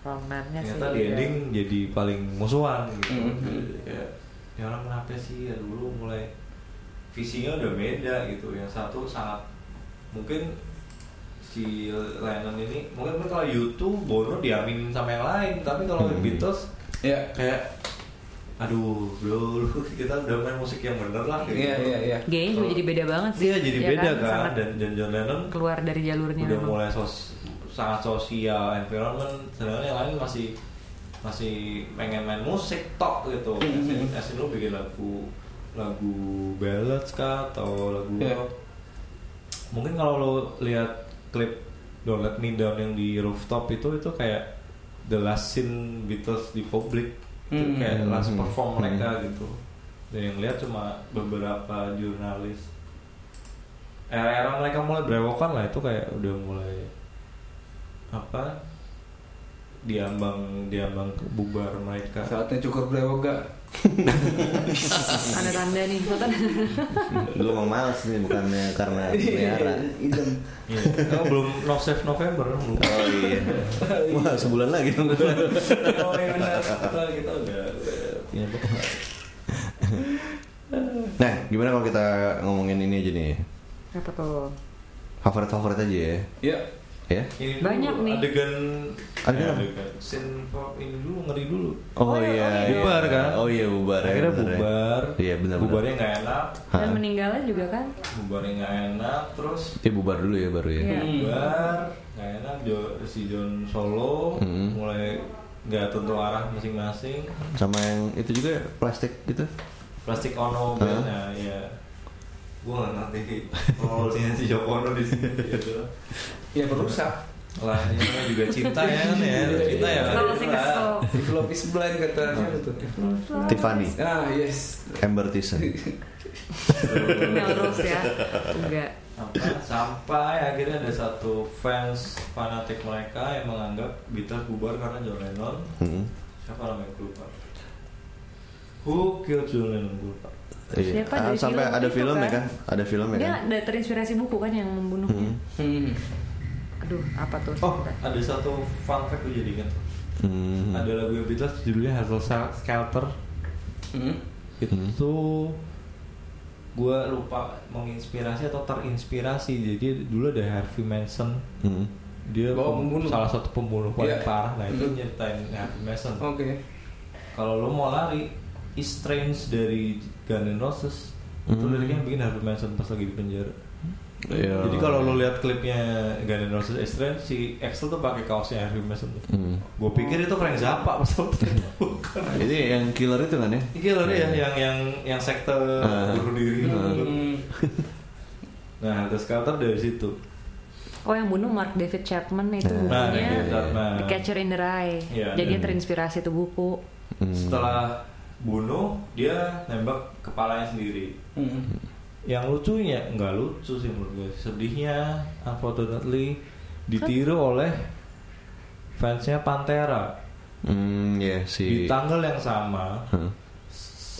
Romannya Iya sih.
ternyata di
beda.
ending jadi paling musuhan gitu
Mhm.
ya, ya orang kenapa sih ya dulu mulai visinya udah beda gitu yang satu sangat mungkin si Lennon ini mungkin kan kalau YouTube Bono diaminin sama yang lain tapi kalau
Mhm.
Beatles
Ya.
kayak aduh bro lu- kita udah main musik yang bener lah gitu
Iya iya iya.
Gayanya juga jadi beda banget sih.
Iya, jadi
Ya
beda kan,
Sangat
dan, dan John Lennon
keluar dari jalurnya.
udah
emang.
mulai sos sangat sosial environment sedangkan yang lain masih masih pengen main musik tok gitu
Iya,
Mhm.
asin lu bikin lagu lagu ballads kah atau lagu
Iya.
rock. mungkin kalau lo lihat klip Don't Let Me Down yang di rooftop itu itu kayak the last scene Beatles di publik itu
Hmm.
Mhm.
kayak last
Mhm.
perform
Mhm.
mereka gitu dan yang lihat cuma beberapa jurnalis era-era mereka mulai berewokan lah itu kayak udah mulai apa diambang diambang bubar
Ya.
mereka
Saatnya cukur brewoga.
Tanda-tanda nih. Tuh, tanda-
Lu emang males nih bukannya karena
Iya.
melihara.
Idem.
Iya. Kamu belum no save November belum
Oh iya. Wah, sebulan lagi dong.
oh, iya benar. kita kita udah udah punya bekal.
Nah, gimana kalau kita ngomongin ini aja nih?
Apa tuh?
Favorit-favorit aja ya.
Ya.
Ya.
Ini
Banyak
dulu,
nih.
Adegan eh,
Adegan apa?
Scene pop ini dulu ngeri dulu.
Oh, iya, iya.
Bubar, kan?
Oh iya bubar. ya,
Akhirnya
bener ya.
bubar.
Iya benar.
Bubarnya nggak enak.
Dan meninggalnya juga kan?
Bubarnya nggak enak. Terus
Dia bubar dulu ya baru ya.
Iya.
bubar. Nggak enak. Jo- si John Solo
Hmm.
mulai nggak tentu arah masing-masing.
Sama yang itu juga plastik gitu.
Plastik Ono band nah, ya. Gua nggak ngerti role-nya si Joko Ono di sini. gitu.
Ya berusak.
Lah, ini namanya juga cinta ya kan ya. Cinta ya.
Kesel sih
lah.
kesel.
If love is blind kata siapa tuh?
Tiffany,
Ah yes.
Amber Thiessen.
Melrose ya. Enggak.
Apa? sampai akhirnya ada satu fans fanatik mereka yang menganggap Beatles bubar karena John Lennon
Mm-mm.
siapa namanya gue lupa who killed John Lennon gue lupa
Iya.
Siapa
Ah,
dari
sampai
film
ada
itu
film ya
kan?
kan? Ada film ya
Dia
kan?
ada terinspirasi buku kan yang membunuhnya.
Mm.
Hmm.
Aduh, apa tuh?
oh ada satu fun fact gue jadi ingat
Mm.
ada lagu yang Beatles judulnya Hazel Skelter
Hmm.
itu gue Gitu. lupa menginspirasi atau terinspirasi jadi dulu ada Harvey Manson
Mm.
dia
Oh,
pem-
membunuh.
salah satu pembunuh paling
Iya.
parah nah itu
Hmm. Oh.
nyeritain Harvey Manson
Oke.
kalau lo mau lari is Strange dari Gun N' Roses itu
Hmm.
liriknya yang bikin Harvey Manson pas lagi di penjara
Iya.
jadi kalau lo lihat klipnya Gun N' Roses is Strange si Axel tuh pakai kaosnya Harvey Manson
Mm.
gue pikir itu Frank Zappa pas waktu itu bukan
Ini yang killer itu kan ya?
Iya loh ya yang yang yang sekte
Ah.
bunuh diri itu.
Hmm.
Nah, The Skelter dari situ.
Oh yang bunuh Mark David Chapman itu
Nah,
bukunya
itu
iya.
Batman.
The Catcher in the Rye.
Iya,
Jadi
iya.
dia terinspirasi itu buku.
Mm.
Setelah bunuh, dia nembak kepalanya sendiri.
Hmm.
yang lucunya nggak lucu sih menurut gue sedihnya unfortunately ditiru oleh fansnya Pantera
Mm, ya si
di tanggal yang sama
Hah?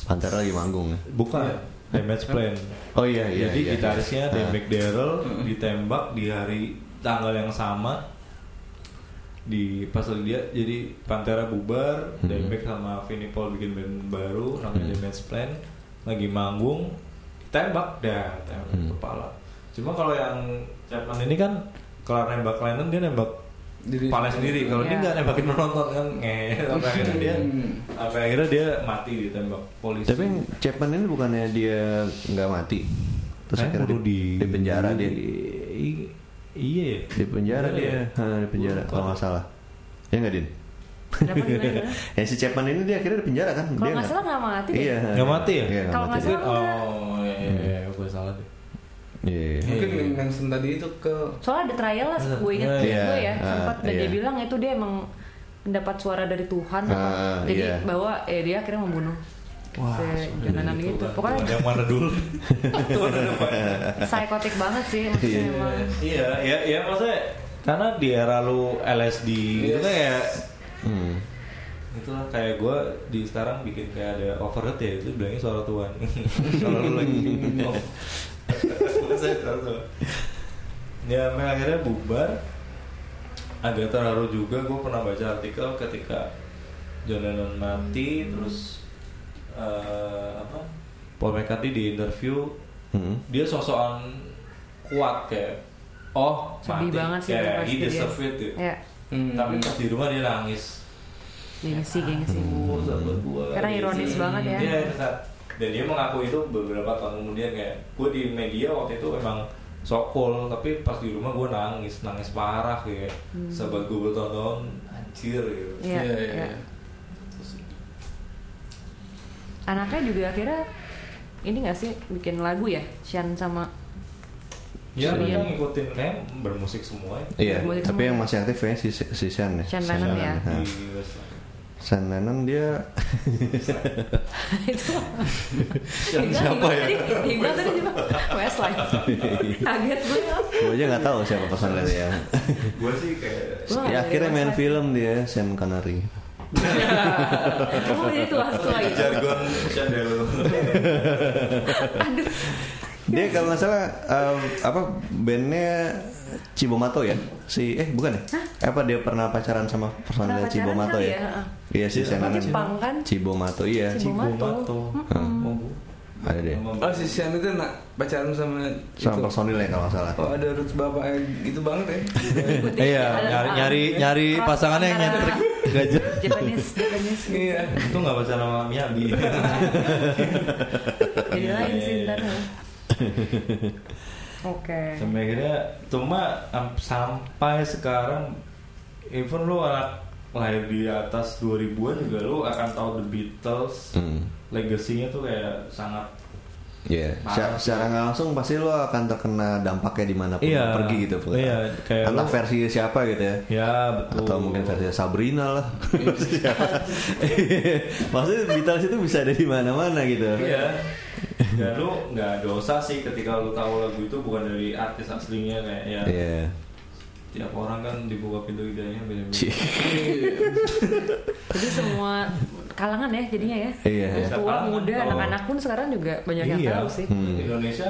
Pantera lagi manggung ya.
bukan damage plan
Oh iya iya.
jadi
iya,
gitarisnya
iya.
Damage Daryl ditembak di hari tanggal yang sama di pas lagi dia jadi Pantera bubar
Hmm.
Damage sama Vinnie Paul bikin band baru namanya Damage Plan lagi manggung tembak dah tembak
Hmm.
kepala cuma kalau yang Chapman ini kan kelar nembak Lennon dia nembak
Jadi-
kepala sendiri kalau dia
Iya.
nggak nembakin penonton kan ngeh sampai akhirnya dia
Hmm.
sampai akhirnya dia mati ditembak polisi
Tapi yang Chapman ini bukannya dia nggak mati. Terus
Kayaknya
akhirnya
bunuh
di, di penjara dia.
I- iya ya
Di penjara
Iya,
dia.
iya.
Ha, di penjara kalau nggak salah. Ya nggak Din?
Kenapa gimana? gimana?
Ya si Chapman ini dia akhirnya di penjara kan?
Kalau
dia
nggak salah nggak mati deh.
Iya.
Nggak mati ya?
Iya,
Kalau
nggak
nggak
mati.
salah enggak.
oh iya, iya,
Hmm.
iya gue salah deh
Iya. iya.
Mungkin yang Manson tadi itu ke
Soalnya ada trial lah, gue inget
Iya,
gue ya,
ah,
sempat dan
iya.
dia bilang itu dia emang mendapat suara dari Tuhan,
Ah,
apa. jadi
iya.
bahwa eh, dia akhirnya membunuh. Wah, jangan
Itu
gitu.
kan,
Pokoknya
yang mana dulu Itu mana depan.
psikotik banget sih maksudnya emang.
iya iya iya maksudnya karena di era lu LSD
Yes.
gitu kan ya
Iya.
Hmm.
itulah kayak gue di sekarang bikin kayak ada overhead ya itu bilangnya suara Tuhan kalau lu lagi minum Maksudnya suara Tuhan. ya memang akhirnya bubar agak terharu juga gue pernah baca artikel ketika John Lennon mati terus eh, apa Paul McCartney di interview
Hmm.
dia sosokan kuat kayak oh
Sedih
mati
banget sih
kayak
pasti
he
dia.
deserve it gitu.
Ya,
Hmm.
tapi pas di rumah dia nangis
gengsi gengsi.
Gua, sahabat gua.
Karena ironis banget ya.
Iya, itu saat- dan dia mengaku itu beberapa tahun kemudian kayak gue di media waktu itu emang sok cool tapi pas di rumah gue nangis nangis parah kayak sahabat gue bertonton anjir gitu
Hmm. Iya,
Iya, iya,
iya.
iya.
Anaknya juga akhirnya ini nggak sih bikin lagu ya, Shan sama
ya
Iya.
mereka ngikutin kayak bermusik semua ya.
Iya,
Musik
tapi
semua.
yang masih aktif kayaknya si, si Sean ya.
Sean Lennon
Iya,
ya.
Ha.
di Westlife.
Sean Lennon dia
itu
Yang
Iqbal-
siapa
Iqbal
ya?
tadi- Iqbal tadi cuma Westlife kaget gue
gue aja nggak tahu siapa Sean Lennon ya.
gue sih kayak
Wah, dari
ya akhirnya main
Westlife.
film dia Sean Canary.
kamu jadi tua tua gitu
jargon Shandelo
Dia kalau nggak salah um, apa bandnya Cibomato ya? Si eh bukan ya? Apa dia pernah pacaran sama personelnya
Pernah pacaran
Cibomato
kali
ya?
ya, heeh.
Iya si
Dia
Senan
Jepang kan?
Cibomato iya.
Cibomato.
Cibomato.
Mm-mm.
Oh,
ada deh
Oh si Sian itu nak pacaran sama
sama
itu.
personil ya kalau nggak salah
Oh ada roots bapaknya gitu banget ya.
Iya, nyari nyari nyari pasangannya yang nyentrik gajah.
Japanese, Japanese. gitu.
iya.
Itu nggak baca nama Miyabi.
Jadi lain sih ntar. ya. Oke.
Sampai akhirnya cuma am- sampai sekarang even lu anak lahir di atas 2000-an juga lu akan tahu The Beatles
Hmm.
legasinya tuh kayak sangat
Iya, secara- secara nggak langsung pasti lo akan terkena dampaknya dimanapun
Iya.
lo pergi gitu. Pul.
Iya, kayak
Entah
lo-
versi siapa gitu ya.
ya betul
Atau mungkin versi Sabrina lah.
Iya.
Maksudnya Beatles itu bisa ada di mana-mana gitu.
Iya. Dan lu nggak dosa sih ketika lu tahu lagu itu bukan dari artis aslinya kayak ya.
Iya.
Tiap orang kan dibuka pintu hidayahnya
Cih.
beda-beda.
Jadi semua kalangan ya jadinya ya.
Iya.
Yang Tua,
Kalangan.
muda,
Oh.
anak-anak pun sekarang juga banyak yang
Iya.
tahu sih.
Hmm.
Indonesia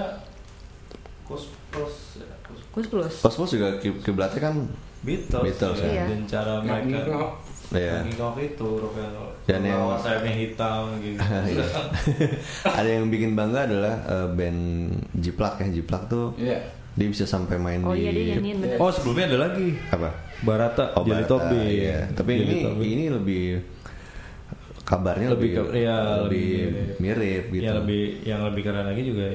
kus plus ya, kus
Kus plus.
Pas-pas juga ki- kiblatnya kan
Beatles,
Beatles,
ya.
ya. dan cara
Nggak
mereka
ngingok.
Iya.
ngingok itu rock and roll.
Dan yang-
Bawa sayapnya hitam gitu.
Iya. ada yang bikin bangga adalah eh, band Jiplak ya. Jiplak tuh
Iya.
dia bisa sampai main
Oh
di
iya dia nyanyiin bener.
oh sebelumnya ada lagi
apa?
Barata,
Oh,
Jelly
Barata,
Tobi.
iya. Tapi
Jelly
ini
Tobi.
ini lebih kabarnya lebih
Lebih ke- iya,
lebih
lebih-
mirip gitu.
Yang lebih yang lebih keren lagi juga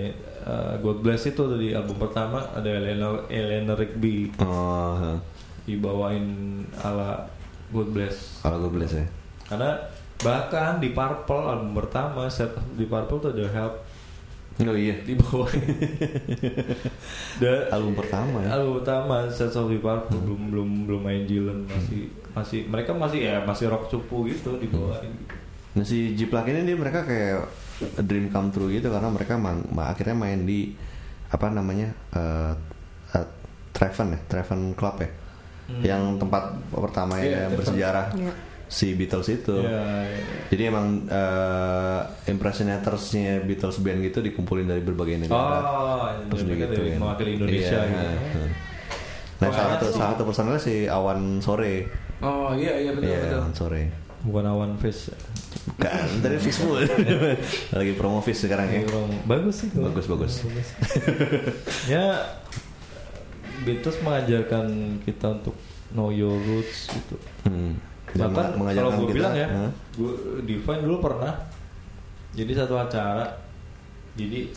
uh, God Bless itu di album pertama ada Eleanor Eleanor Rigby
Oh, heeh.
dibawain ala God Bless.
kalau gue belas ya.
Karena bahkan di Purple album pertama set di Purple tuh ada Help
Oh iya.
dibawain. The
Album pertama ya.
album pertama set of the
Hmm.
Purple belum belum belum main Jilen masih masih mereka masih ya masih rock cupu gitu dibawain.
Nah si Jiplak ini dia mereka kayak a dream come true gitu karena mereka man- ma- akhirnya main di apa namanya eh eh, Treven ya, Treven Club ya, yang tempat pertama
Iya,
yang
Treven.
bersejarah si Beatles itu.
Ya, ya.
Jadi emang eh impressionators-nya Beatles band gitu dikumpulin dari berbagai negara.
Oh,
Terus
mereka
begitu
dari
ya.
mewakili Indonesia
Iya,
gitu.
heeh. Nah,
Oh,
salah
enak
satu
tuh.
salah satu personelnya si Awan Sore.
Oh iya iya betul
Iya,
betul.
Awan Sore.
Bukan awan face.
Bukan, dari Fishful. Lagi promo Fish sekarang ya.
Iya, Bagus sih. tuh.
Bagus, bagus.
ya Beatles mengajarkan kita untuk know your roots gitu.
Hmm. Dan
Bahkan
meng-
kalau gue bilang ya,
Hah?
gue Divine dulu pernah. Jadi satu acara. Jadi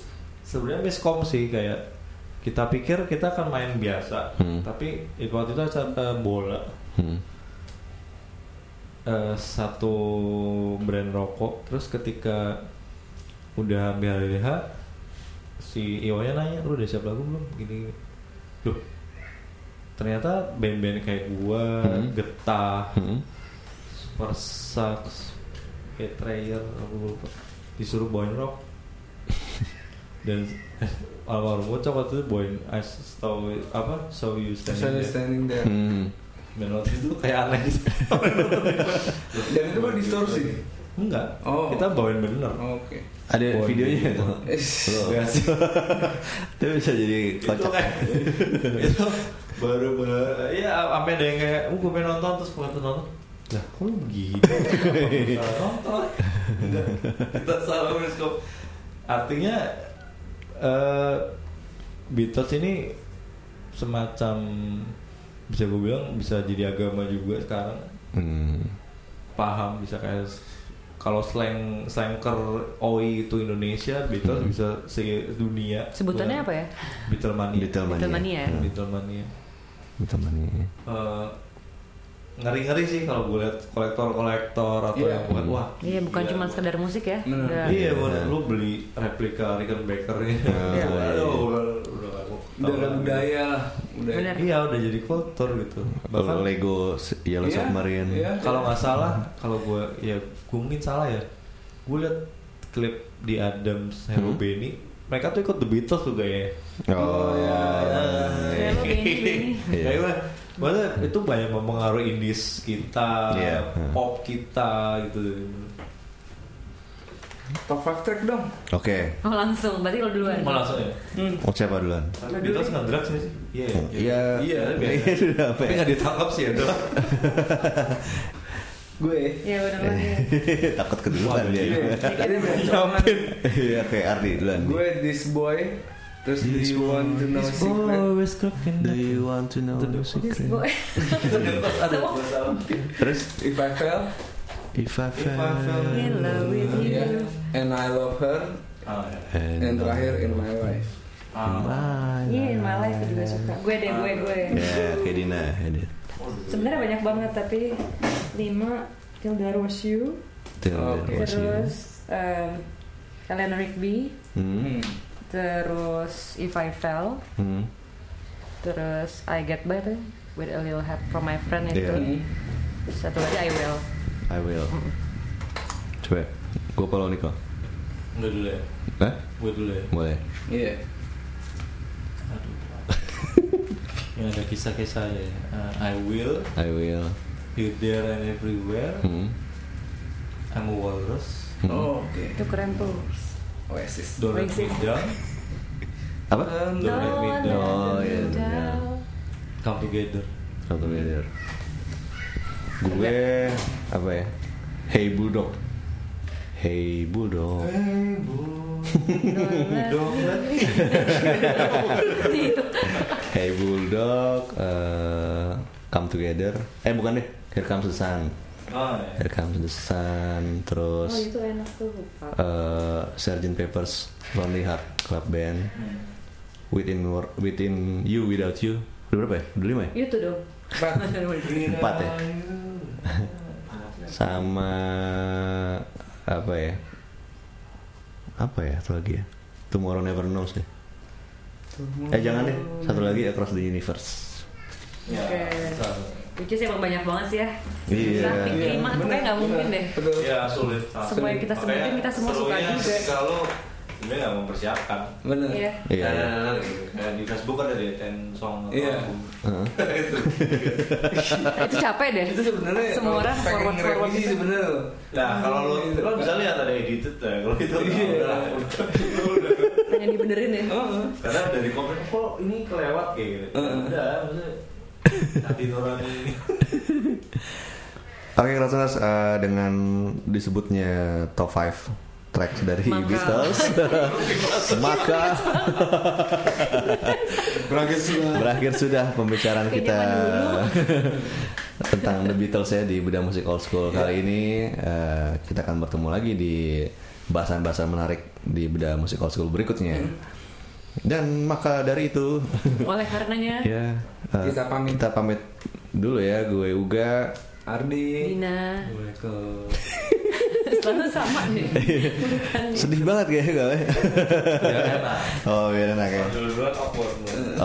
sebenarnya miskom sih kayak kita pikir kita akan main biasa,
Hmm.
tapi itu waktu itu acara eh, bola.
Hmm.
eh, satu brand rokok terus ketika udah hampir hari H si Io nya nanya lu udah siap lagu belum gini, gini. Duh, ternyata band-band kayak gua
Hmm.
getah
Hmm.
super sax betrayer aku lupa disuruh bawain rock dan eh, almarhum Ucok waktu itu bawain I saw apa saw you standing,
Saya
there.
standing there.
iya. Hmm.
Dan waktu itu kayak aneh gitu.
Dan itu mah distorsi.
Enggak.
Oh.
Kita bawain bener.
Oke.
Ada
Boy
videonya itu.
Enggak sih.
Itu bisa jadi
itu
kocak.
kayak itu Gitu. baru baru ya sampai ada yang kayak uh gue pengen nonton terus gue nonton nonton lah kok lu begini Kenapa salah nonton Enggak, kita salah bioskop artinya eh Beatles ini semacam bisa gue bilang bisa jadi agama juga sekarang
Hmm.
paham bisa kayak s- kalau slang slangker oi itu Indonesia Beatles bisa sedunia Iya.
Sebutannya apa ya?
Beatlemania
Beatlemania.
Beatlemania.
Hmm.
Beatlemania
Beatlemania.
Eh, ngeri-ngeri sih kalau gue lihat kolektor-kolektor atau
Iya.
yang bukan wah
Iya bukan
gila,
cuma
gua-
sekedar musik ya.
Bener.
Udah.
iya
Iya.
lu- lu beli replika Rickenbacker nya
Iya.
aduh gua- udah gak mau-
Udah ada budaya lah, budaya.
Bener.
iya udah jadi kultur gitu
Bahkan
bahkan
Lego S- Yellow
Iya,
Submarine.
iya.
kalau nggak salah kalau gue ya gue mungkin salah ya gue lihat klip di Adams Hello
Hmm.
Benny mereka tuh ikut The Beatles juga ya
Oh,
iya.
ya.
Kayak lu gini, gini.
Iya.
Kayak gimana? Maksudnya itu banyak mempengaruhi indies kita,
Iya.
pop kita gitu.
Top 5 track dong.
Oke.
Oh langsung, berarti lo duluan.
Malah langsung ya.
Hmm.
Mau siapa duluan?
Tapi Beatles nggak drugs nggak sih? Iya. ya?
Iya.
Iya.
Iya,
biasa.
sudah apa
Tapi
ya?
nggak ditangkap sih ya.
gue
Iya benar banget.
Takut keduluan
Iya,
dia.
tadi nyampe
Iya, kayak Ardi duluan. nih.
gue this boy terus do you want to know secret
Do you want to know the
This
secret?
boy.
ada dua salam
Terus
if I fell
if I
If I fell
fell
in love with you.
yeah, and I love her
Ah, ya.
and terakhir in my life
Ah,
Iya, in my life juga suka. Gue deh, gue, gue.
Ya, kayak Dina. ya dia.
Sebenarnya banyak banget tapi lima Till There Was You,
Till there
Oke.
was you.
terus um, Ellen Rigby,
Hmm.
Hmm.
terus If I Fell,
Hmm.
terus I Get By tuh, With a Little Help from My Friend itu,
Hmm.
satu lagi I Will.
I will. Coba. Gue follow Niko.
nggak dulu ya
Hah?
gue dulu ya
Boleh.
Iya.
aduh ini ada kisah-kisah ya Ah, I will
I will.
here there and everywhere
Hmm.
I'm a walrus
Hmm.
Oh, oke.
Itu keren tuh.
Oasis.
don't let me down
Apa?
don't let me
Don't
down
let
Oh, iya,
me
iya.
down.
come together
Satu miliar. Gue apa ya? Hey Bulldog. Hey Bulldog.
iya.
don't let me
Hey Bulldog. eh, come together. Eh bukan deh. Here comes the sun.
ah ya.
Here comes the sun. Terus
Oh itu enak tuh. Pak.
eh, Sgt. Pepper's Lonely Heart Club Band. Within Wor- Within You Without You. Udah berapa ya? Udah lima ya?
Itu dong.
Empat ya? sama apa ya apa ya satu lagi ya Tomorrow Never Knows deh eh jangan deh satu lagi Across the Universe
Ya,
Oke.
salah.
Which is emang banyak banget sih ya.
Iya.
Susah, Pick
Iya,
lima tuh
bener,
kayak nggak mungkin
bener.
deh.
Betul.
ya sulit salah.
Semua yang kita
Makanya
sebutin kita semua suka
serunya
juga.
kalau sebenarnya nggak mempersiapkan
Bener.
Iya.
Iya,
Nah,
iya.
nah, nah, gitu. Kayak di Facebook kan ada ya, 10 song atau
Iya.
album.
Heeh.
Itu.
Itu capek deh.
Itu sebenarnya
semua orang
pengen
forward forward gitu.
revisi sebenarnya loh.
Nah kalau lo,
Hmm.
lo bisa lihat ada edited ya kalau itu
Iya.
udah, udah, udah.
Hanya dibenerin ya.
Heeh.
Karena dari komen kok ini kelewat kayak gitu.
Heeh.
Udah, maksudnya hati nurani.
Oke, Krasonas dengan disebutnya top 5 tracks dari
Maka.
Beatles, maka berakhir sudah berakhir sudah pembicaraan
Oke,
kita
zaman
tentang The Beatles ya di bedah musik old school
Iya.
kali ini eh, kita akan bertemu lagi di bahasan-bahasan menarik di bedah musik old school
Iya.
berikutnya. Dan maka dari itu
Oleh karenanya
ya eh,
Kita pamit.
kita pamit dulu ya gue Uga
Ardi.
Dina
Gue ke
selalu sama nih.
Sedih banget kayaknya gue.
Ya enak.
Oh biar enak ya.
Dulu-duluan awkward.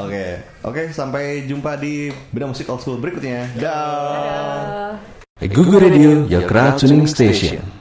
Oke, oke sampai jumpa di bidang musik old school berikutnya. Dah.
Dadah.
Google Radio, your crowd tuning station.